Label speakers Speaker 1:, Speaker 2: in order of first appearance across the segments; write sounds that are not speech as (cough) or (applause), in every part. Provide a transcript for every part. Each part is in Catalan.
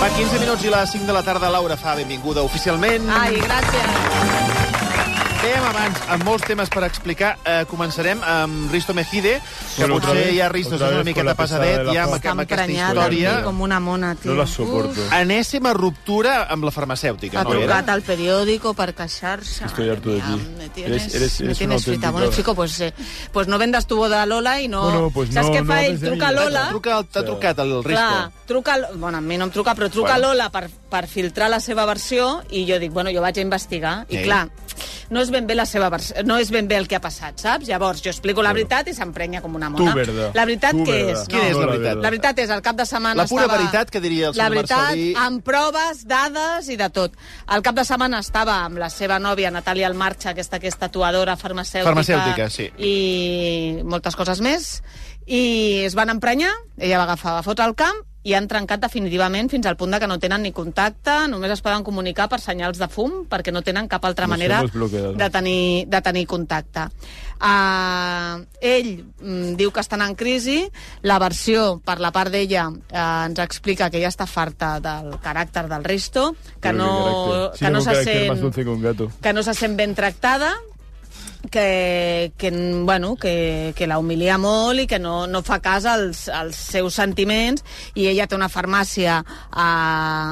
Speaker 1: Fa 15 minuts i les 5 de la tarda Laura fa benvinguda oficialment.
Speaker 2: Ai, gràcies.
Speaker 1: Dèiem abans, amb molts temes per explicar, eh, començarem amb Risto Mejide, que
Speaker 3: Bueno, otra
Speaker 1: potser
Speaker 3: vez,
Speaker 1: ja Risto
Speaker 3: otra
Speaker 1: és una
Speaker 3: vez con
Speaker 1: miqueta
Speaker 3: la
Speaker 1: pasadet
Speaker 3: pesada de la
Speaker 1: ja amb,
Speaker 3: pasta.
Speaker 1: amb
Speaker 2: Està
Speaker 1: aquesta
Speaker 2: emprenyat
Speaker 1: història.
Speaker 2: aquí com una mona, tio.
Speaker 3: No la soporto.
Speaker 2: Uf,
Speaker 1: Enèsima ruptura amb la farmacèutica,
Speaker 2: ha
Speaker 1: no era?
Speaker 2: trucat al periódico para casarse.
Speaker 3: Estoy harto de
Speaker 2: Ya,
Speaker 3: ti.
Speaker 2: Me tienes,
Speaker 3: Eres- eres-
Speaker 2: me
Speaker 3: eres
Speaker 2: tienes
Speaker 3: una
Speaker 2: frita.
Speaker 3: auténtica-
Speaker 2: Bueno, chico, pues, eh, pues no vendas tu boda a Lola y no...
Speaker 3: Bueno, pues
Speaker 2: ¿Sabes
Speaker 3: no,
Speaker 2: qué
Speaker 3: no
Speaker 2: fa ell?
Speaker 3: hables de
Speaker 2: Truca a
Speaker 3: mi.
Speaker 2: Lola...
Speaker 1: T'ha trucat, t'ha trucat el
Speaker 2: Clar,
Speaker 1: Risto.
Speaker 2: truca... al- Bueno, a mi no em truca, però truca
Speaker 1: Bueno.
Speaker 2: bueno. Lola per, per filtrar la seva versió i jo dic, bueno, jo vaig a investigar.
Speaker 1: Sí.
Speaker 2: I clar, no és ben bé la seva versió, no és ben bé el que ha passat, saps? Llavors, jo explico la veritat i s'emprenya com una mona.
Speaker 3: Tu, verda.
Speaker 2: Ah, La veritat
Speaker 3: Tu,
Speaker 2: què
Speaker 3: verda.
Speaker 2: és?
Speaker 1: Quina és la veritat?
Speaker 2: La veritat és, el cap de setmana
Speaker 1: La pura
Speaker 2: estava...
Speaker 1: veritat, que diria el
Speaker 2: La
Speaker 1: senyor
Speaker 2: veritat,
Speaker 1: Marcelí.
Speaker 2: amb proves, dades i de tot. El cap de setmana estava amb la seva nòvia, Natàlia Almarcha, aquesta que és tatuadora farmacèutica.
Speaker 1: Farmacèutica, sí.
Speaker 2: I moltes coses més. I es van emprenyar, ella va agafar, va fotre el camp, i han trencat definitivament fins al punt de que no tenen ni contacte, només es poden comunicar per senyals de fum, perquè no tenen cap altra
Speaker 3: Los
Speaker 2: manera
Speaker 3: hemos bloqueado.
Speaker 2: de tenir, de tenir contacte. Uh, ell mm, diu que estan en crisi, la versió per la part d'ella uh, ens explica que ja està farta del caràcter del Risto, que
Speaker 3: Pero qué
Speaker 2: no,
Speaker 3: carácter. Sí,
Speaker 2: que no
Speaker 3: tengo un
Speaker 2: se
Speaker 3: carácter más
Speaker 2: sent
Speaker 3: dulce que un gato.
Speaker 2: que no se sent ben tractada, que, que, bueno, que, que la humilia molt i que no, no fa cas als, als seus sentiments i ella té una farmàcia a,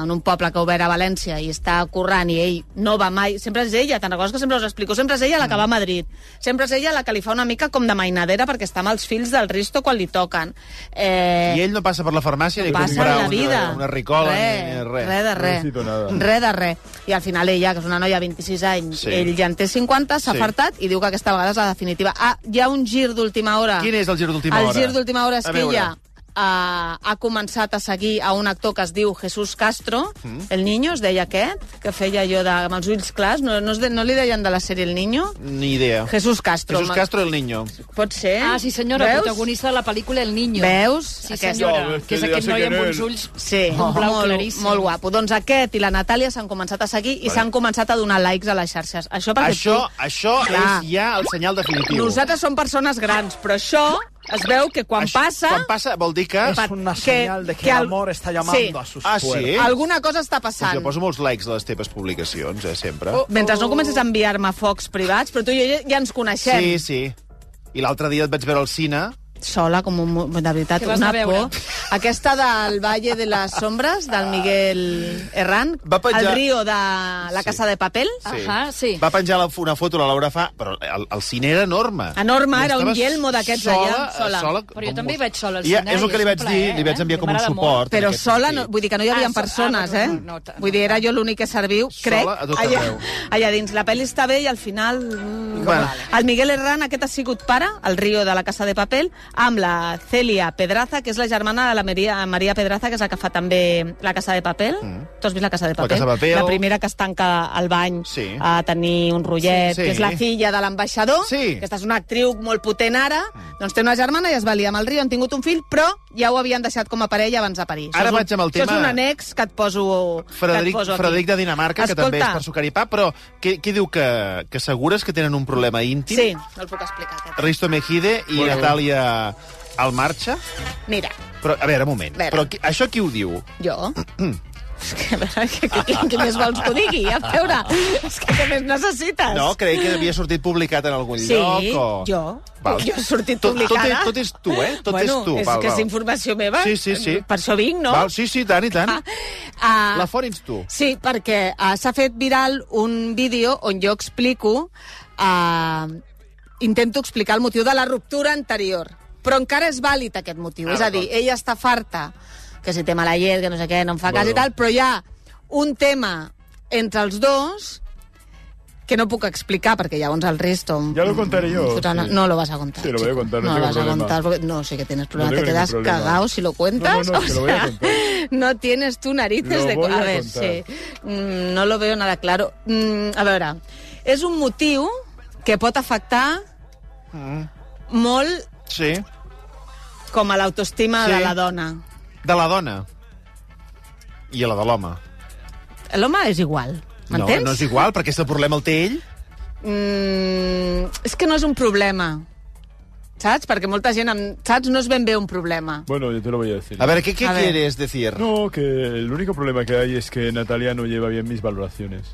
Speaker 2: en un poble que ha obert a València i està currant i ell no va mai sempre és ella, te'n recordes que sempre us explico sempre és ella la que va a Madrid, sempre és ella la que li fa una mica com de mainadera perquè està amb els fills del Risto quan li toquen eh,
Speaker 1: I ell no passa per la farmàcia ni
Speaker 2: passa
Speaker 1: comprar
Speaker 2: de la
Speaker 1: una,
Speaker 2: vida.
Speaker 1: una ricola ni res.
Speaker 2: Res de res.
Speaker 3: necessito nada.
Speaker 2: Res de res. I al final ella, que és una noia de 26 anys,
Speaker 1: Sí.
Speaker 2: sí. ell ja en té 50, s'ha
Speaker 1: Sí.
Speaker 2: sí. fartat i diu que aquesta vegada és la definitiva. Ah, hi ha un gir d'última hora.
Speaker 1: Quin és el gir d'última hora?
Speaker 2: El gir d'última hora és
Speaker 1: A
Speaker 2: que
Speaker 1: veure.
Speaker 2: ella ha, ha començat a seguir a un actor que es diu Jesús Castro, mm. el Niño, es deia aquest, que feia allò de, amb els ulls clars, no, no, es de, no li deien de la sèrie El Niño?
Speaker 1: Ni idea.
Speaker 2: Jesús Castro.
Speaker 1: Jesús
Speaker 2: ma-
Speaker 1: Castro el niño.
Speaker 2: Pot
Speaker 4: Eh?
Speaker 2: ser?
Speaker 5: Ah, sí senyora,
Speaker 2: Veus?
Speaker 5: protagonista de la pel·lícula El Niño.
Speaker 2: Veus?
Speaker 5: Sí
Speaker 2: Aquesta.
Speaker 5: senyora,
Speaker 3: No, és que
Speaker 5: que és
Speaker 3: ja
Speaker 5: aquest
Speaker 3: sé
Speaker 5: noi
Speaker 3: que
Speaker 5: amb
Speaker 3: no
Speaker 5: uns
Speaker 3: és.
Speaker 5: ulls
Speaker 2: Sí,
Speaker 5: un blau
Speaker 2: molt,
Speaker 5: claríssim.
Speaker 2: molt guapo. Doncs aquest i la Natàlia s'han començat a seguir i s'han començat a donar likes a les xarxes. Això perquè
Speaker 1: Això,
Speaker 2: tu...
Speaker 1: això
Speaker 2: Clar.
Speaker 1: és ja el senyal definitiu.
Speaker 2: Nosaltres som persones grans, però això es veu que quan
Speaker 1: Això-
Speaker 2: passa...
Speaker 1: Quan passa vol dir que...
Speaker 2: pa-
Speaker 4: Es una señal de que, el
Speaker 2: al-
Speaker 4: amor está llamando a
Speaker 2: sí,
Speaker 4: sus
Speaker 1: Ah,
Speaker 4: puertas.
Speaker 1: sí?
Speaker 2: Alguna cosa
Speaker 1: Pues
Speaker 2: està passant.
Speaker 1: jo poso molts likes a les teves publicacions, eh, sempre.
Speaker 2: Mentre no comencis a enviar-me focs privats, però tu i jo ja, ja ens coneixem.
Speaker 1: Sí, sí. I l'altre dia et vaig veure al cine.
Speaker 2: sola, com un, mu- de veritat,
Speaker 5: Què vas
Speaker 2: una
Speaker 5: a veure?
Speaker 2: por. Aquesta del Valle de les Sombres, del Miguel Herrán,
Speaker 1: Va penjar-
Speaker 2: el rio de la
Speaker 1: Sí.
Speaker 2: Casa de Papel.
Speaker 5: Ahà, sí.
Speaker 1: Va penjar la, una foto, la Laura fa... Però el, el cine era enorme.
Speaker 2: Enorme,
Speaker 1: I
Speaker 2: era un
Speaker 1: estaves
Speaker 2: yelmo d'aquests
Speaker 1: sola, eh,
Speaker 2: allà, sola.
Speaker 1: sola
Speaker 5: Però jo també hi
Speaker 1: un-
Speaker 5: vaig sola al
Speaker 1: I ja-
Speaker 5: cine,
Speaker 1: És el que
Speaker 5: i
Speaker 1: li
Speaker 5: és
Speaker 1: vaig
Speaker 5: un
Speaker 1: dir,
Speaker 5: plaer,
Speaker 1: li vaig
Speaker 5: eh?
Speaker 1: enviar com un
Speaker 5: M'agrada molt.
Speaker 1: suport. en
Speaker 2: Però
Speaker 1: aquest
Speaker 2: sola, no,
Speaker 1: sentit.
Speaker 2: vull dir que no hi havia
Speaker 5: Ah, so-
Speaker 2: persones,
Speaker 5: ah,
Speaker 2: eh?
Speaker 5: no, no, no, no.
Speaker 2: vull dir, era jo l'únic que serviu, crec,
Speaker 1: a tot
Speaker 2: allà,
Speaker 1: arreu.
Speaker 2: allà dins. La pel·li està bé i al final... Mm,
Speaker 1: Bueno.
Speaker 2: El Miguel Herrán, aquest ha sigut pare, el rio de la Casa de Papel, amb la Celia Pedraza, que és la germana de la Maria, Maria Pedraza, que és la que fa també la Casa de Papel. Mm. Tu has vist la Casa de Papel?
Speaker 1: Casa de Papel.
Speaker 2: La primera que es tanca al bany
Speaker 1: Sí.
Speaker 2: a tenir un rotllet,
Speaker 1: Sí, sí.
Speaker 2: que és la filla de l'ambaixador,
Speaker 1: Sí. Mm.
Speaker 2: que està és una actriu molt potent ara, doncs té una germana i es va liar amb el Rio, han tingut un fill, però ja ho havien deixat com a parella abans de París.
Speaker 1: Ara
Speaker 2: Això és un-
Speaker 1: vaig amb el
Speaker 2: Això
Speaker 1: tema-
Speaker 2: és un annex que et poso,
Speaker 1: Frederic,
Speaker 2: que et poso aquí.
Speaker 1: Frederic de Dinamarca, Escolta. que també és
Speaker 2: Escolta.
Speaker 1: per sucar i pa, però què, què diu que, que segures que tenen un problema íntim?
Speaker 2: Sí, no el puc explicar. Aquest.
Speaker 1: Risto Mejide i
Speaker 3: Bueno.
Speaker 1: Natàlia al marxa?
Speaker 2: Mira,
Speaker 1: Però, a veure, un moment.
Speaker 2: A veure.
Speaker 1: Però qui, això qui ho diu? (clears throat)
Speaker 2: jo... És que, a veure, que, que, que, que més vols que ho digui, a veure? És que què més necessites?
Speaker 1: No, creia que havia sortit publicat en algun
Speaker 2: Sí,
Speaker 1: lloc o...
Speaker 2: jo.
Speaker 1: Val.
Speaker 2: Jo he sortit
Speaker 1: Tot-
Speaker 2: publicada.
Speaker 1: Tot, és- tot és tu, eh? Tot
Speaker 2: bueno,
Speaker 1: és tu.
Speaker 2: és
Speaker 1: val,
Speaker 2: que
Speaker 1: val.
Speaker 2: és informació meva.
Speaker 1: Sí, sí, sí.
Speaker 2: Per això vinc, no?
Speaker 1: Val, sí, sí, i tant i tant.
Speaker 2: Ah,
Speaker 1: La font ets tu.
Speaker 2: Sí, perquè uh, s'ha fet viral un vídeo on jo explico... Uh, intento explicar el motiu de la ruptura anterior, però encara és vàlid aquest motiu.
Speaker 1: Ah,
Speaker 2: és a dir, ella està farta, que si té mala llet, que no sé què, no em fa cas
Speaker 3: Bueno.
Speaker 2: i tal, però hi ha un tema entre els dos que no puc explicar, perquè llavors el resto...
Speaker 3: Ya lo contaré yo,
Speaker 2: Fotrà una-
Speaker 3: sí.
Speaker 2: No lo vas a contar.
Speaker 3: Sí, lo voy a
Speaker 2: chico.
Speaker 3: contar, no
Speaker 2: No, lo
Speaker 3: tengo
Speaker 2: vas
Speaker 3: problema.
Speaker 2: a contar, porque... No, sí que tienes problema.
Speaker 3: tengo
Speaker 2: te
Speaker 3: ningún
Speaker 2: quedas
Speaker 3: problema.
Speaker 2: cagado si lo cuentas.
Speaker 3: No, no, no,
Speaker 2: o
Speaker 3: que lo voy a
Speaker 2: sea,
Speaker 3: contar.
Speaker 2: no tienes tú narices
Speaker 3: Lo
Speaker 2: de...
Speaker 3: voy a
Speaker 2: ver,
Speaker 3: contar.
Speaker 2: sí. Mm, no lo veo nada claro. Mm, a veure, és un motiu que pot afectar
Speaker 3: Ah.
Speaker 2: molt
Speaker 1: Sí.
Speaker 2: com a l'autoestima
Speaker 1: Sí.
Speaker 2: de la dona.
Speaker 1: De la dona. I a la de l'home.
Speaker 2: L'home és igual,
Speaker 1: No,
Speaker 2: m'entens?
Speaker 1: no és igual, perquè aquest problema el té ell.
Speaker 2: Mm, és que no és un problema. saps? Perquè molta gent, amb, saps, no es ben bé un problema.
Speaker 3: Bueno, yo te lo voy a decir.
Speaker 1: A ver, ¿qué, qué
Speaker 2: A ver.
Speaker 1: quieres decir?
Speaker 3: No, que el único problema que hay es que Natalia no lleva bien mis valoraciones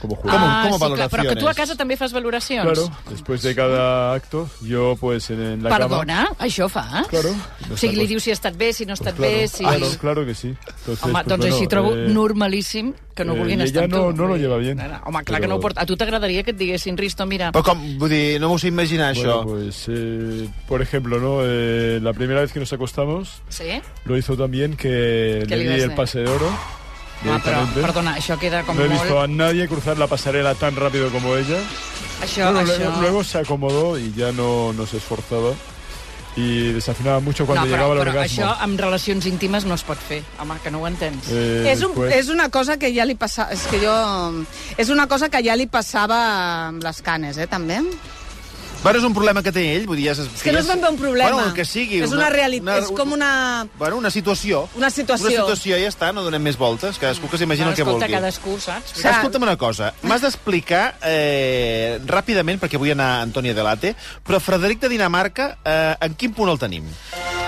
Speaker 3: como jugador.
Speaker 1: ¿Cómo- cómo
Speaker 4: Ah, sí, clar, però que tu a
Speaker 1: valoraciones?
Speaker 4: casa també fas valoracions.
Speaker 3: Claro, después de cada acto, yo pues en, en la cama...
Speaker 4: Perdona, això fa?
Speaker 3: Claro.
Speaker 4: O sigui, li diu si ha estat bé, si no ha estat bé, si...
Speaker 3: Claro, claro que sí. Entonces,
Speaker 4: Home,
Speaker 3: pues,
Speaker 4: doncs
Speaker 3: bueno,
Speaker 4: així trobo
Speaker 3: eh,
Speaker 4: normalíssim que no
Speaker 3: eh,
Speaker 4: vulguin
Speaker 3: i
Speaker 4: estar
Speaker 3: ella
Speaker 4: amb
Speaker 3: no-
Speaker 4: tu.
Speaker 3: no lo lleva
Speaker 4: Vull dir,
Speaker 3: bien.
Speaker 4: no, no, Home, clar que
Speaker 3: Però-
Speaker 4: no ho porta. A tu t'agradaria que et diguessin, Risto, mira...
Speaker 1: Però com, vull dir, no m'ho sé imaginar,
Speaker 3: Bueno,
Speaker 1: això.
Speaker 3: pues, eh, por ejemplo, ¿no? Eh, la primera vez que nos acostamos
Speaker 4: Sí?
Speaker 3: lo hizo también que
Speaker 4: ¿Qué
Speaker 3: le
Speaker 4: le
Speaker 3: di
Speaker 4: ibas a
Speaker 3: el
Speaker 4: hacer?
Speaker 3: pase de oro.
Speaker 4: Ah, però,
Speaker 3: directamente.
Speaker 4: perdona, això queda com
Speaker 3: No he visto a
Speaker 4: molt...
Speaker 3: nadie cruzar la pasarela tan rápido como ella.
Speaker 4: Això,
Speaker 3: Bueno,
Speaker 4: això...
Speaker 3: luego, luego se acomodó y ya no, no se esforzaba. Y desafinaba mucho
Speaker 4: No,
Speaker 3: cuando
Speaker 4: però,
Speaker 3: llegaba al
Speaker 4: però
Speaker 3: orgasmo.
Speaker 4: això amb relacions íntimes no es pot fer. Home, que no ho entens.
Speaker 3: Eh,
Speaker 2: És, un,
Speaker 3: después-
Speaker 2: és una cosa que ja li passa... És que jo... És una cosa que ja li passava amb les canes, eh, també.
Speaker 1: Bueno, és un problema que té ell, vull dir... És,
Speaker 2: És que no és ben bé un problema.
Speaker 1: Bueno, el que sigui.
Speaker 2: És una realitat, és com una-
Speaker 1: Bueno, una situació.
Speaker 2: Una situació.
Speaker 1: Una situació, ja està, no donem més voltes, cadascú que s'imagina
Speaker 4: No,
Speaker 1: el que
Speaker 4: escolta,
Speaker 1: vulgui.
Speaker 4: cadascú, saps?
Speaker 2: Saps?
Speaker 1: Escolta'm una cosa, m'has d'explicar eh, ràpidament, perquè vull anar a Antonio Delate, però Frederic de Dinamarca, eh, en quin punt el tenim?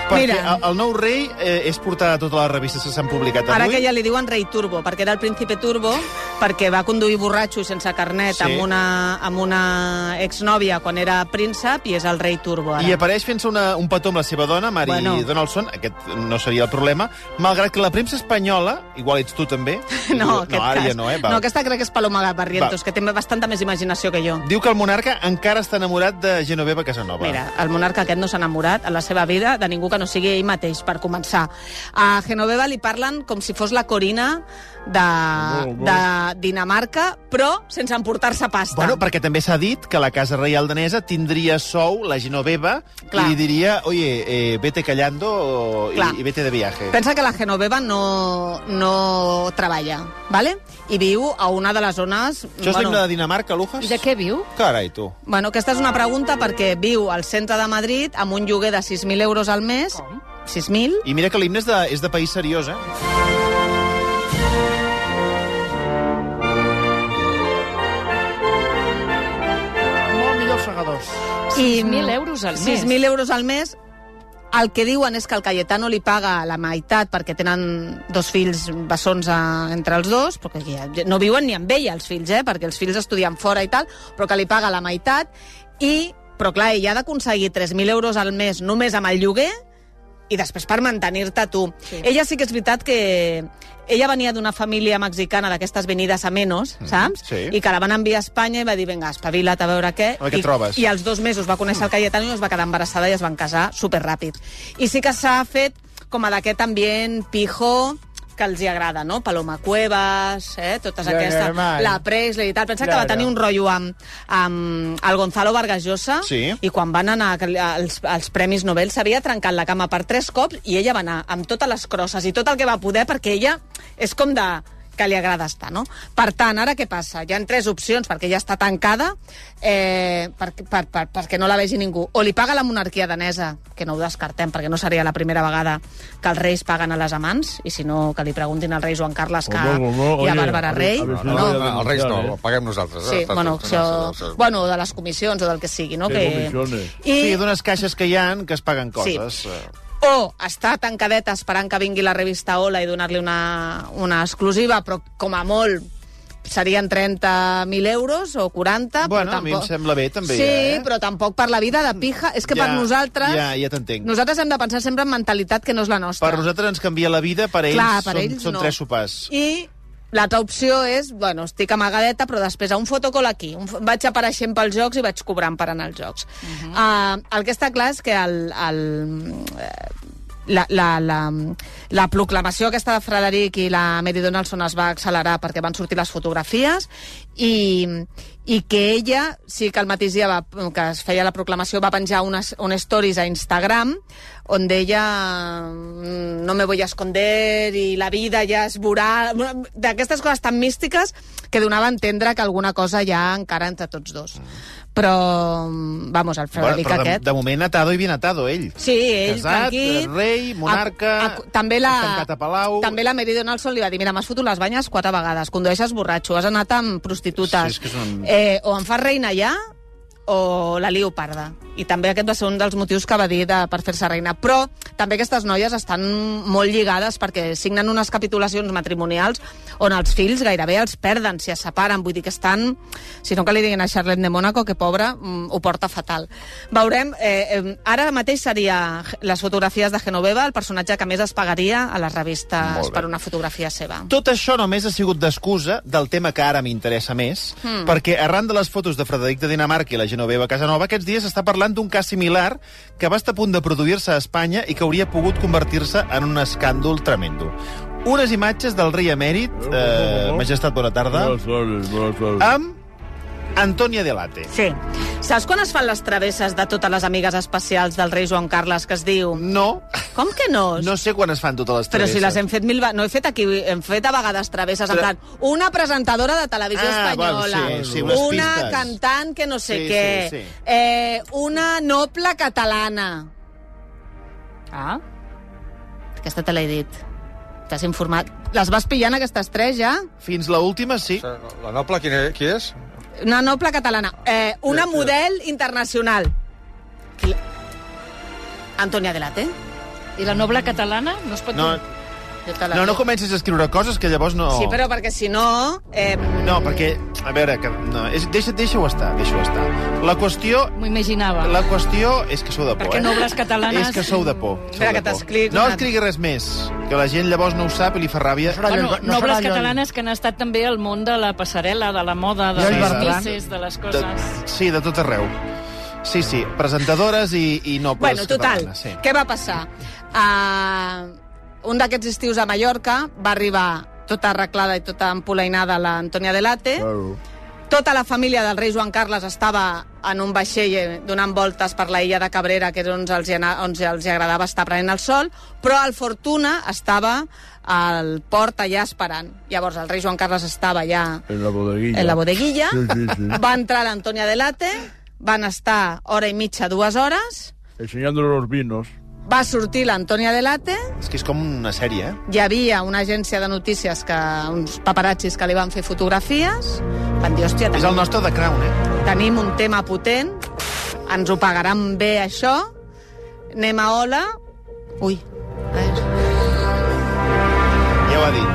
Speaker 1: Perquè
Speaker 2: Mira.
Speaker 1: el, el nou rei eh, és portar a totes les revistes que s'han publicat avui.
Speaker 2: Ara que ja li diuen rei turbo, perquè era el príncipe turbo, perquè va conduir borratxo i sense carnet
Speaker 1: Sí.
Speaker 2: amb, una, amb una exnòvia quan era príncep i és el rei turbo ara.
Speaker 1: I apareix fent-se una- un petó amb la seva dona, Mary bueno.
Speaker 2: Bueno.
Speaker 1: Donaldson, aquest no seria el problema, malgrat que la premsa espanyola, igual ets tu també,
Speaker 2: (laughs) (laughs) No,
Speaker 1: diu-
Speaker 2: aquest
Speaker 1: no ara
Speaker 2: cas.
Speaker 1: ja no, eh? Val.
Speaker 2: no, aquesta crec que és Paloma Barrientos,
Speaker 1: Va.
Speaker 2: que té bastanta més imaginació que jo.
Speaker 1: Diu que el monarca encara està enamorat de Genoveva Casanova.
Speaker 2: Mira, el monarca aquest no s'ha enamorat en la seva vida de ningú que no sigui ell mateix, per començar. A Genoveva li parlen com si fos la Corina de,
Speaker 3: Molt bo.
Speaker 2: de Dinamarca, però sense emportar-se pasta.
Speaker 1: Bueno, perquè també s'ha dit que la Casa Reial Danesa tindria sou la Genoveva
Speaker 2: Clar.
Speaker 1: i li diria, oye, eh, vete callando o,
Speaker 2: Clar.
Speaker 1: i, i vete de viaje.
Speaker 2: Pensa que la Genoveva no, no treballa, ¿vale? i viu a una de les zones...
Speaker 1: Això és l'himne de Dinamarca, Lujas?
Speaker 4: I de què viu?
Speaker 1: Carai, tu.
Speaker 2: Bueno, aquesta és una pregunta perquè viu al centre de Madrid amb un lloguer de 6.000 euros al mes.
Speaker 4: Com?
Speaker 2: 6.000?
Speaker 1: I mira que l'himne és, de, és de país seriós, eh?
Speaker 4: Molt millor segadors.
Speaker 2: I-
Speaker 4: 6.000 euros al mes.
Speaker 2: 6.000 euros al mes. El que diuen és que el Cayetano li paga la meitat perquè tenen dos fills bessons a, entre els dos, perquè ja, ja no viuen ni amb ella els fills, eh, perquè els fills estudien fora i tal, però que li paga la meitat. I, però clar, ella ha d'aconseguir 3.000 euros al mes només amb el lloguer i després per mantenir-te tu. Sí.
Speaker 4: Sí.
Speaker 2: Ella sí que és veritat que... Ella venia d'una família mexicana d'aquestes venides a menos, saps?
Speaker 1: sí.
Speaker 2: I que la van enviar a Espanya i va dir, vinga, espavila't a veure què.
Speaker 1: A veure què
Speaker 2: Eh? I,
Speaker 1: trobes.
Speaker 2: I als dos mesos va conèixer el Cayetano i es va quedar embarassada i es van casar superràpid. I sí que s'ha fet com a d'aquest ambient pijo que els hi agrada, no? Paloma Cuevas, eh? totes
Speaker 3: Lo
Speaker 2: aquestes...
Speaker 3: normal.
Speaker 2: La Presley i tal. Pensa que va
Speaker 3: Claro.
Speaker 2: tenir un rotllo amb, amb el Gonzalo Vargas Llosa
Speaker 1: Sí.
Speaker 2: i quan van anar als, als Premis Nobel s'havia trencat la cama per tres cops i ella va anar amb totes les crosses i tot el que va poder perquè ella és com de que li agrada estar, no? Per tant, ara què passa? Hi han tres opcions, perquè ja està tancada, eh, per, per, per, perquè no la vegi ningú. O li paga la monarquia danesa, que no ho descartem, perquè no seria la primera vegada que els reis paguen a les amants, i si no, que li preguntin al rei Joan Carles que,
Speaker 3: Home, home,
Speaker 2: i a
Speaker 3: oye,
Speaker 2: Bàrbara
Speaker 3: a ver,
Speaker 2: Rei.
Speaker 3: a ver,
Speaker 6: No,
Speaker 3: No,
Speaker 6: no,
Speaker 3: ja
Speaker 6: no, els reis no,
Speaker 3: denunciar, eh?
Speaker 6: ho paguem nosaltres.
Speaker 2: Sí,
Speaker 6: Està-
Speaker 2: bueno,
Speaker 6: està-
Speaker 2: això...
Speaker 6: està- està-
Speaker 2: Bueno, de les comissions o del que sigui, no?
Speaker 3: Sí,
Speaker 2: Que...
Speaker 3: comissiones.
Speaker 2: I...
Speaker 1: Sí, d'unes caixes que hi han que es paguen
Speaker 2: Sí.
Speaker 1: coses. Sí.
Speaker 2: O està tancadeta esperant que vingui la revista Ola i donar-li una, una exclusiva, però com a molt serien 30.000 euros o 40,
Speaker 1: Bueno,
Speaker 2: però
Speaker 1: a mi
Speaker 2: tampoc...
Speaker 1: em sembla bé, també,
Speaker 2: Sí,
Speaker 1: ja, eh?
Speaker 2: però tampoc per la vida de pija. És que
Speaker 1: Ja,
Speaker 2: per nosaltres...
Speaker 1: ja, ja t'entenc.
Speaker 2: Nosaltres hem de pensar sempre en mentalitat que no és la nostra.
Speaker 1: Per nosaltres ens canvia la vida, per ells,
Speaker 2: Clar, per
Speaker 1: són,
Speaker 2: ells
Speaker 1: són
Speaker 2: no.
Speaker 1: tres sopars.
Speaker 2: I l'altra opció és, bueno, estic amagadeta, però després a un fotocol aquí. Un, fo- vaig apareixent pels jocs i vaig cobrant per anar als jocs. Uh -huh. uh, el que està clar és que el... el eh, la, la, la, la proclamació aquesta de Frederic i la Mary Donaldson es va accelerar perquè van sortir les fotografies i, i que ella sí que el mateix dia va, que es feia la proclamació va penjar unes, unes stories a Instagram on deia mm, no me voy a esconder i la vida ja es veurà... Bueno, D'aquestes coses tan místiques que donava a entendre que alguna cosa hi ha encara entre tots dos. Però, mm, vamos, el Frederic
Speaker 1: però de,
Speaker 2: aquest...
Speaker 1: de moment atado i ben atado, ell.
Speaker 2: Sí, ell,
Speaker 1: Casat,
Speaker 2: tranquil.
Speaker 1: rei, monarca,
Speaker 2: també la,
Speaker 1: tancat a Palau.
Speaker 2: També la Mary Donaldson li va dir, mira, m'has fotut les banyes quatre vegades, condueixes borratxo, has anat amb prostitutes,
Speaker 1: Sí, és que és un-
Speaker 2: eh, o em fas reina ja, o la Liuparda. I també aquest va ser un dels motius que va dir de, per fer-se reina. Però també aquestes noies estan molt lligades perquè signen unes capitulacions matrimonials on els fills gairebé els perden, si es separen. Vull dir que estan... Si no, que li diguin a Charlotte de Mónaco que, pobra, mm, ho porta fatal. Veurem... Eh, eh, ara mateix seria les fotografies de Genoveva, el personatge que més es pagaria a les revistes
Speaker 1: Molt bé.
Speaker 2: per una fotografia seva.
Speaker 1: Tot això només ha sigut d'excusa del tema que ara m'interessa més,
Speaker 2: Hmm.
Speaker 1: mm. perquè arran de les fotos de Frederic de Dinamarca i la Genoveva Casanova, aquests dies s'està parlant d'un cas similar que va estar a punt de produir-se a Espanya i que hauria pogut convertir-se en un escàndol tremendo. Unes imatges del rei emèrit, eh, Majestat, bona tarda,
Speaker 3: Molt sols, molt sols.
Speaker 1: amb Antonia Delate.
Speaker 2: Sí. Saps quan es fan les travesses de totes les amigues especials del rei Joan Carles que es diu...
Speaker 1: No,
Speaker 2: Com que no?
Speaker 1: no sé quan es fan totes les
Speaker 2: Però
Speaker 1: travesses.
Speaker 2: si les hem fet mil... ve- No he fet aquí, hem fet a vegades travesses. En
Speaker 1: Tra-
Speaker 2: plan, una presentadora de televisió
Speaker 1: Ah, val,
Speaker 2: espanyola,
Speaker 1: sí, sí, unes
Speaker 2: una
Speaker 1: pistes.
Speaker 2: cantant que no sé
Speaker 1: Sí,
Speaker 2: què,
Speaker 1: sí, sí.
Speaker 2: Eh, una noble catalana.
Speaker 5: Ah,
Speaker 2: Aquesta te l'he dit. T'has informat. Les vas pillant, aquestes tres, ja?
Speaker 1: Fins la última, sí.
Speaker 6: La noble, qui, qui és?
Speaker 2: Una noble catalana. Eh, una
Speaker 6: Sí, sí.
Speaker 2: model internacional. Qui la- Antonia Delate.
Speaker 5: i la noble catalana no es pot...
Speaker 1: No,
Speaker 5: dir?
Speaker 2: Jo te la
Speaker 1: no, no
Speaker 2: dic.
Speaker 1: comencis a escriure coses que llavors no...
Speaker 2: Sí, però perquè si no... Eh,
Speaker 1: No, perquè, a veure, que, no, és, deixa, deixa-ho estar, deixa-ho estar. La qüestió,
Speaker 5: M'ho imaginava.
Speaker 1: la qüestió és que sou de por,
Speaker 5: Perquè
Speaker 1: eh?
Speaker 5: nobles catalanes-
Speaker 1: És que sou de por. Sou
Speaker 2: Espera,
Speaker 1: de
Speaker 2: que
Speaker 1: por.
Speaker 2: t'explico
Speaker 1: No
Speaker 2: una-
Speaker 1: escrigui res més, que la gent llavors no ho sap i li fa ràbia.
Speaker 4: serà
Speaker 5: Bueno,
Speaker 4: Lloll- no
Speaker 5: nobles
Speaker 4: serà Lloll.
Speaker 5: catalanes que han estat també al món de la passarel·la, de la moda, de
Speaker 4: Lloll
Speaker 5: les
Speaker 4: Bertran.
Speaker 5: misses, de les
Speaker 1: De,
Speaker 5: coses...
Speaker 1: sí, de tot arreu. Sí, sí, presentadores i, i nobles
Speaker 2: Bueno, total,
Speaker 1: catalanes. Sí.
Speaker 2: què va passar? Uh, un d'aquests estius a Mallorca va arribar tota arreglada i tota empolainada l'Antònia Delate.
Speaker 3: Claro.
Speaker 2: Tota la família del rei Joan Carles estava en un vaixell eh, donant voltes per la illa de Cabrera, que era on els, hi ana- on els hi agradava estar prenent el sol, però el Fortuna estava al port allà esperant. Llavors el rei Joan Carles estava allà
Speaker 3: En la bodeguilla.
Speaker 2: en la bodeguilla.
Speaker 3: Sí, sí, sí.
Speaker 2: Va entrar l'Antonia Delate, van estar hora i mitja, dues hores,
Speaker 3: Enseñándole los vinos.
Speaker 2: va sortir l'Antonia Delate,
Speaker 1: És que és com una sèrie, eh?
Speaker 2: hi havia una agència de notícies, que, uns paparazzis que li van fer fotografies, van dir, hòstia,
Speaker 1: És el
Speaker 2: tenim,
Speaker 1: nostre de Crown, eh?
Speaker 2: tenim un tema potent, ens ho pagaran bé, això, anem a Ola... Ui, a veure.
Speaker 1: Ja ho ha dit.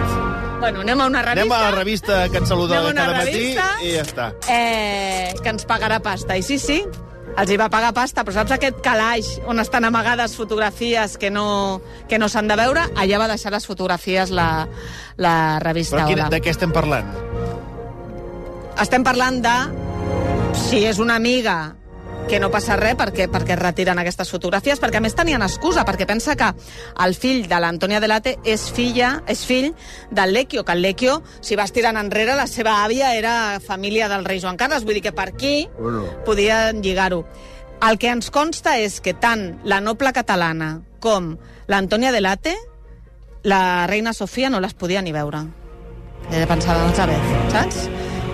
Speaker 2: bueno, anem a una revista...
Speaker 1: Anem a la revista que ens saluda
Speaker 2: Anem a una
Speaker 1: cada matí
Speaker 2: revista.
Speaker 1: i ja està.
Speaker 2: eh, que ens pagarà pasta. I sí, sí, els hi va pagar pasta, però saps aquest calaix on estan amagades fotografies que no, que no s'han de veure? Allà va deixar les fotografies la, la revista
Speaker 1: Però quina,
Speaker 2: Hola.
Speaker 1: de què estem parlant?
Speaker 2: Estem parlant de si és una amiga que no passa res perquè, perquè es retiren aquestes fotografies, perquè a més tenien excusa, perquè pensa que el fill de l'Antònia Delate és filla és fill del Lecchio, que el Lecchio, si vas tirant enrere, la seva àvia era família del rei Joan Carles, vull dir que per aquí
Speaker 3: Bueno,
Speaker 2: podien lligar-ho. El que ens consta és que tant la noble catalana com l'Antònia Delate, la reina Sofia no les podia ni veure. Ella pensava, doncs, a veure, saps?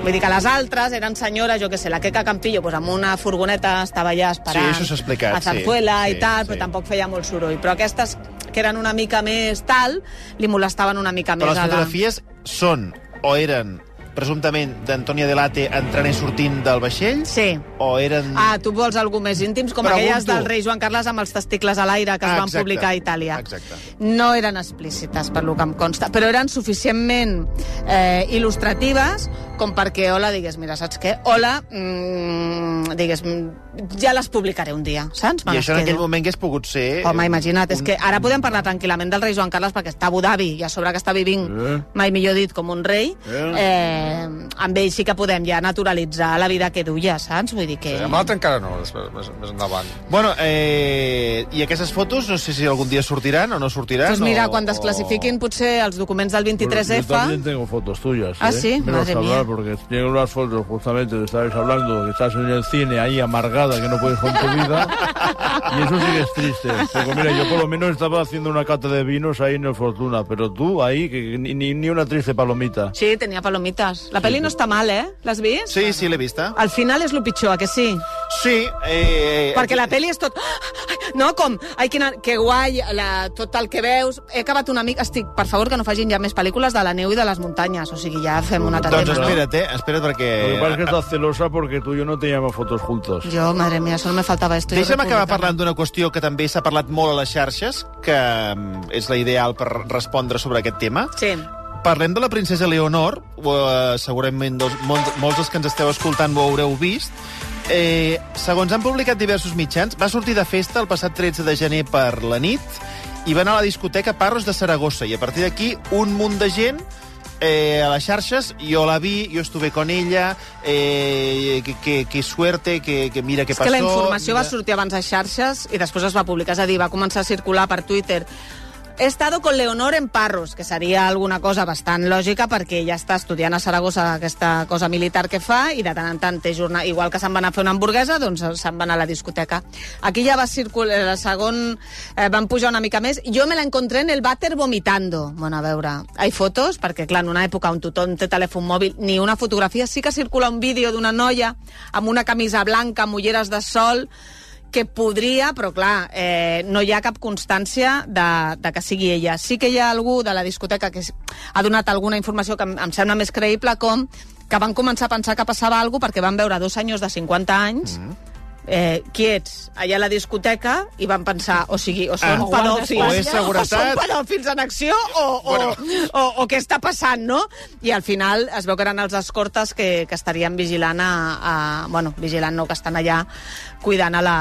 Speaker 2: Vull dir que les altres eren senyores, jo que sé, la Queca Campillo, doncs, amb una furgoneta estava allà esperant
Speaker 1: Sí, això s'ha explicat,
Speaker 2: a Zarzuela
Speaker 1: sí,
Speaker 2: i
Speaker 1: sí,
Speaker 2: tal, però
Speaker 1: sí.
Speaker 2: tampoc feia molt soroll. Però aquestes, que eren una mica més tal, li molestaven una mica
Speaker 1: Però
Speaker 2: més.
Speaker 1: les
Speaker 2: a la-
Speaker 1: fotografies són o eren presumptament d'Antonia Delate entrant i sortint del vaixell
Speaker 2: Sí.
Speaker 1: o eren...
Speaker 2: Ah, tu vols algú més íntims, com
Speaker 1: Pregunto.
Speaker 2: aquelles del rei Joan Carles amb els testicles a l'aire que es
Speaker 1: Ah,
Speaker 2: van
Speaker 1: exacte.
Speaker 2: publicar a Itàlia.
Speaker 1: Exacte.
Speaker 2: No eren explícites, per lo que em consta, però eren suficientment eh, il·lustratives com perquè Ola digués, mira, saps què? Ola, mm, digués, "Mm, ja les publicaré un dia, saps? Me
Speaker 1: I
Speaker 2: les
Speaker 1: això en aquell
Speaker 2: quedo."
Speaker 1: moment que es pogut ser...
Speaker 2: Home, imagina't,
Speaker 1: un-
Speaker 2: és que ara podem parlar tranquil·lament del rei Joan Carles perquè està a Abu Dhabi i a sobre que està vivint, eh?
Speaker 3: Eh.
Speaker 2: mai millor dit, com un rei, eh?
Speaker 3: Eh.
Speaker 2: Eh, amb ell sí que podem ja naturalitzar la vida que duia, saps? Vull dir que...
Speaker 6: Eh, amb l'altre encara no, després, més, més endavant.
Speaker 1: Bueno, eh, i aquestes fotos no sé si algun dia sortiran o Eh? no sortiran.
Speaker 2: Doncs mira,
Speaker 1: o,
Speaker 2: quan desclassifiquin potser els documents del
Speaker 3: yo también
Speaker 2: 23F...
Speaker 3: tengo fotos tuyas.
Speaker 2: Ah,
Speaker 3: ¿eh?
Speaker 2: sí,
Speaker 3: Menos
Speaker 2: madre
Speaker 3: hablar
Speaker 2: mía.
Speaker 3: porque tengo unas fotos justamente de estabais hablando, que estás en el cine ahí amargada, que no puedes con tu
Speaker 2: (laughs)
Speaker 3: vida. y eso sí que es triste. Porque mira, yo por lo menos estaba haciendo una cata de vinos ahí en el Fortuna, pero tú ahí, que ni, ni- ni una triste palomita.
Speaker 2: Sí, tenia palomita, Ostres, la pel·li no està mal, eh? L'has vist?
Speaker 1: Sí, sí, l'he vista.
Speaker 2: Al final és el pitjor, eh, que sí?
Speaker 1: Sí. Eh, eh,
Speaker 2: Perquè la pel·li és tot... (gasps) No, com, ai, quina, que guai, la, tot el que veus... He acabat una mica... Estic, per favor, que no facin ja més pel·lícules de la neu i de les muntanyes. O sigui, ja fem una altra
Speaker 1: Doncs
Speaker 2: tema,
Speaker 1: espera't, eh? Espera't perquè...
Speaker 3: Lo que pasa es que estás celosa porque tú y yo no teníamos fotos juntos.
Speaker 2: no? Jo, madre mía, solo me faltaba esto. Jo
Speaker 1: Deixa'm acabar
Speaker 2: republicana.
Speaker 1: parlant d'una qüestió que també s'ha parlat molt a les xarxes, que mm, és la ideal per respondre sobre aquest tema.
Speaker 2: Sí.
Speaker 1: Parlem de la princesa Leonor, eh, segurament dels, molts, molts dels que ens esteu escoltant ho haureu vist. Eh, segons han publicat diversos mitjans, va sortir de festa el passat 13 de gener per la nit i va anar a la discoteca Parros de Saragossa i a partir d'aquí un munt de gent eh, a les xarxes, jo la vi, jo estuve con ella, eh, que, que, que suerte, que, que mira què
Speaker 2: És
Speaker 1: passó...
Speaker 2: que la informació va
Speaker 1: mira-
Speaker 2: sortir abans a xarxes i després es va publicar, és a dir, va començar a circular per Twitter. He estado con Leonor en Parros, que seria alguna cosa bastant lògica perquè ja està estudiant a Saragossa aquesta cosa militar que fa i de tant en tant té jornada. Igual que se'n van a fer una hamburguesa, doncs se'n van a la discoteca. Aquí ja va circular, el segon eh, van pujar una mica més. Jo me la encontré en el vàter vomitando. Bueno, a veure, hi fotos, perquè clar, en una època on tothom té telèfon mòbil, ni una fotografia, sí que circula un vídeo d'una noia amb una camisa blanca, amb ulleres de sol, que podria, però clar, eh, no hi ha cap constància de, de que sigui ella. Sí que hi ha algú de la discoteca que s- ha donat alguna informació que em, em sembla més creïble, com que van començar a pensar que passava alguna perquè van veure dos senyors de 50 anys mm.
Speaker 1: Mm-hmm.
Speaker 2: eh, quiets allà a la discoteca i van pensar, o sigui, o són
Speaker 1: Ah,
Speaker 2: ah, pedòfils,
Speaker 1: o és seguretat.
Speaker 2: o són pedòfils en acció, o, o, bueno. o, o què està passant, no? I al final es veu que eren els escortes que, que estarien vigilant a, a... Bueno, vigilant no, que estan allà cuidant a la,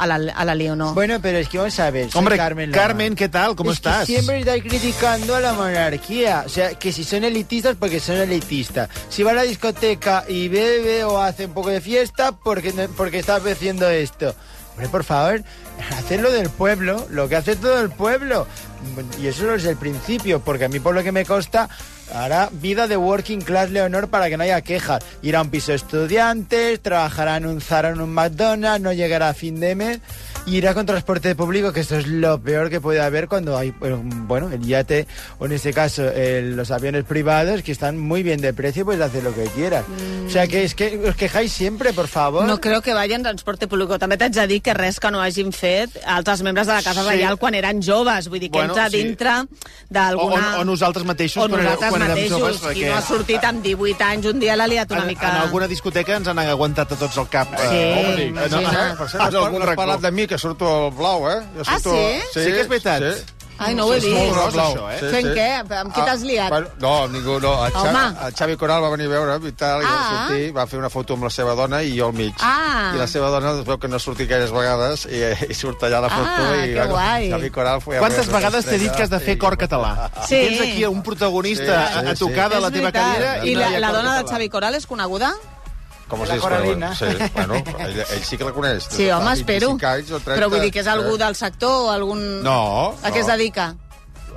Speaker 2: a la, a la Leonor.
Speaker 7: Bueno, pero es que vamos a ver. soy
Speaker 1: Hombre,
Speaker 7: Carmen,
Speaker 1: Carmen,
Speaker 7: Lomar.
Speaker 1: ¿qué tal? ¿Cómo
Speaker 7: Es que
Speaker 1: estás?
Speaker 7: siempre está criticando a la monarquía. O sea, que si son elitistas, porque son elitistas. Si va a la discoteca y bebe o hace un poco de fiesta, porque, no- porque está haciendo esto. Hombre, por favor, hacer lo del pueblo, lo que hace todo el pueblo. Y eso es el principio, porque a mí por lo que me consta, hará vida de working class Leonor para que no haya quejas. Ir a un piso de estudiantes, trabajará en un Zara, en un McDonald's, no llegará a fin de mes. Y irá con transporte público, que esto es lo peor que puede haber cuando hay, eh, bueno, el yate o en este caso el- los aviones privados que están muy bien de precio, pues hacer lo que quieras. O sea que es que os quejáis siempre, por favor.
Speaker 2: No creu que vagi en transport públic. També t'haig de dir que res que no hagin fet altres membres de la Casa
Speaker 1: Sí.
Speaker 2: sí. Reial quan eren joves. Vull dir que
Speaker 1: Bueno,
Speaker 2: bueno, entra
Speaker 1: sí.
Speaker 2: dintre
Speaker 1: O, o,
Speaker 2: d'alguna...
Speaker 1: o nosaltres mateixos,
Speaker 2: o nosaltres
Speaker 1: quan, érem-
Speaker 2: mateixos.
Speaker 1: quan érem joves,
Speaker 2: Qui no ha sortit amb 18 anys un dia l'ha liat una
Speaker 1: en,
Speaker 2: mica...
Speaker 1: en alguna discoteca ens han aguantat a tots el cap.
Speaker 2: Sí,
Speaker 1: eh,
Speaker 2: imagina't.
Speaker 1: no, eh, per cert,
Speaker 6: Has,
Speaker 1: en algun
Speaker 6: has
Speaker 1: racó.
Speaker 6: parlat de mi, que surto al blau, eh? Jo
Speaker 2: Ah,
Speaker 6: surto...
Speaker 2: sí?
Speaker 1: Sí que és veritat.
Speaker 2: Ai, no ho he
Speaker 1: És molt
Speaker 2: vist.
Speaker 1: gros,
Speaker 6: Blau,
Speaker 1: això, eh?
Speaker 6: sí,
Speaker 2: Fent
Speaker 6: sí. Ah,
Speaker 2: què? Amb qui t'has liat?
Speaker 6: bueno, no, amb ningú, no. El Xavi,
Speaker 2: Home.
Speaker 6: el Xavi Coral va venir a veure'm i tal, i va
Speaker 2: Ah.
Speaker 6: sortir, va fer una foto amb la seva dona i jo al mig.
Speaker 2: Ah.
Speaker 6: I la seva dona es veu que no ha sortit gaires vegades i, i surt allà a la
Speaker 2: Ah,
Speaker 6: foto. i,
Speaker 2: que guai.
Speaker 6: Xavi Coral foi a
Speaker 1: Quantes
Speaker 6: veure
Speaker 1: vegades t'he dit que has de fer
Speaker 6: i-
Speaker 1: cor català?
Speaker 2: Sí.
Speaker 1: Tens aquí un protagonista
Speaker 6: Sí, sí,
Speaker 1: a, a tocar de
Speaker 2: És
Speaker 1: la teva
Speaker 2: veritat.
Speaker 1: cadira
Speaker 2: I
Speaker 1: i
Speaker 2: la,
Speaker 1: no hi ha
Speaker 2: la
Speaker 1: cor
Speaker 2: dona del
Speaker 1: català.
Speaker 2: Xavi Coral és coneguda?
Speaker 6: Com
Speaker 7: De
Speaker 6: es
Speaker 7: la
Speaker 6: diu? Bueno,
Speaker 7: Coralina.
Speaker 6: Sí, bueno, ell, ell sí que la coneix. des
Speaker 2: Sí,
Speaker 6: de fa
Speaker 2: home, espero.
Speaker 6: 25 Anys, o 30,
Speaker 2: Però vull dir que és algú
Speaker 6: eh?
Speaker 2: del sector o algun...
Speaker 6: No,
Speaker 2: A què
Speaker 6: no.
Speaker 2: es dedica?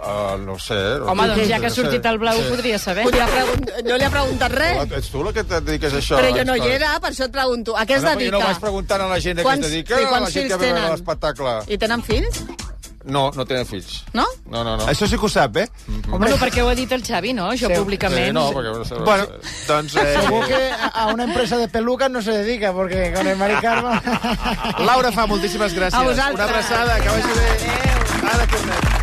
Speaker 6: Uh, no ho sé.
Speaker 5: Home, doncs ja que ha sortit el blau, ho podria saber.
Speaker 2: Podria pregunt... No li ha preguntat res.
Speaker 6: Ets tu la que et dediques a això?
Speaker 2: Però jo no hi
Speaker 6: Història.
Speaker 2: era, per això et pregunto. A què es
Speaker 6: no, però Jo no
Speaker 2: dedica?
Speaker 6: vaig preguntant a la gent a què es
Speaker 2: Quants-
Speaker 6: dedica,
Speaker 2: i
Speaker 6: a la
Speaker 2: quants
Speaker 6: gent que
Speaker 2: fills
Speaker 6: ve a
Speaker 2: tenen?
Speaker 6: veure l'espectacle.
Speaker 2: I tenen fills?
Speaker 6: No, no tenen fills.
Speaker 2: No?
Speaker 6: No, no, no.
Speaker 1: Això sí que ho sap, eh?
Speaker 5: Bueno, perquè ho ha dit el Xavi, no? Això públicament.
Speaker 6: Sí, no, perquè... No sé,
Speaker 1: Bueno, doncs...
Speaker 7: Seguro
Speaker 1: Eh,
Speaker 7: que a- a una empresa de pelucas no se dedica, porque con el maricarma...
Speaker 1: Laura fa moltíssimes gràcies.
Speaker 2: A vosaltres.
Speaker 1: Una abraçada, que vagi bé. Ara tornem.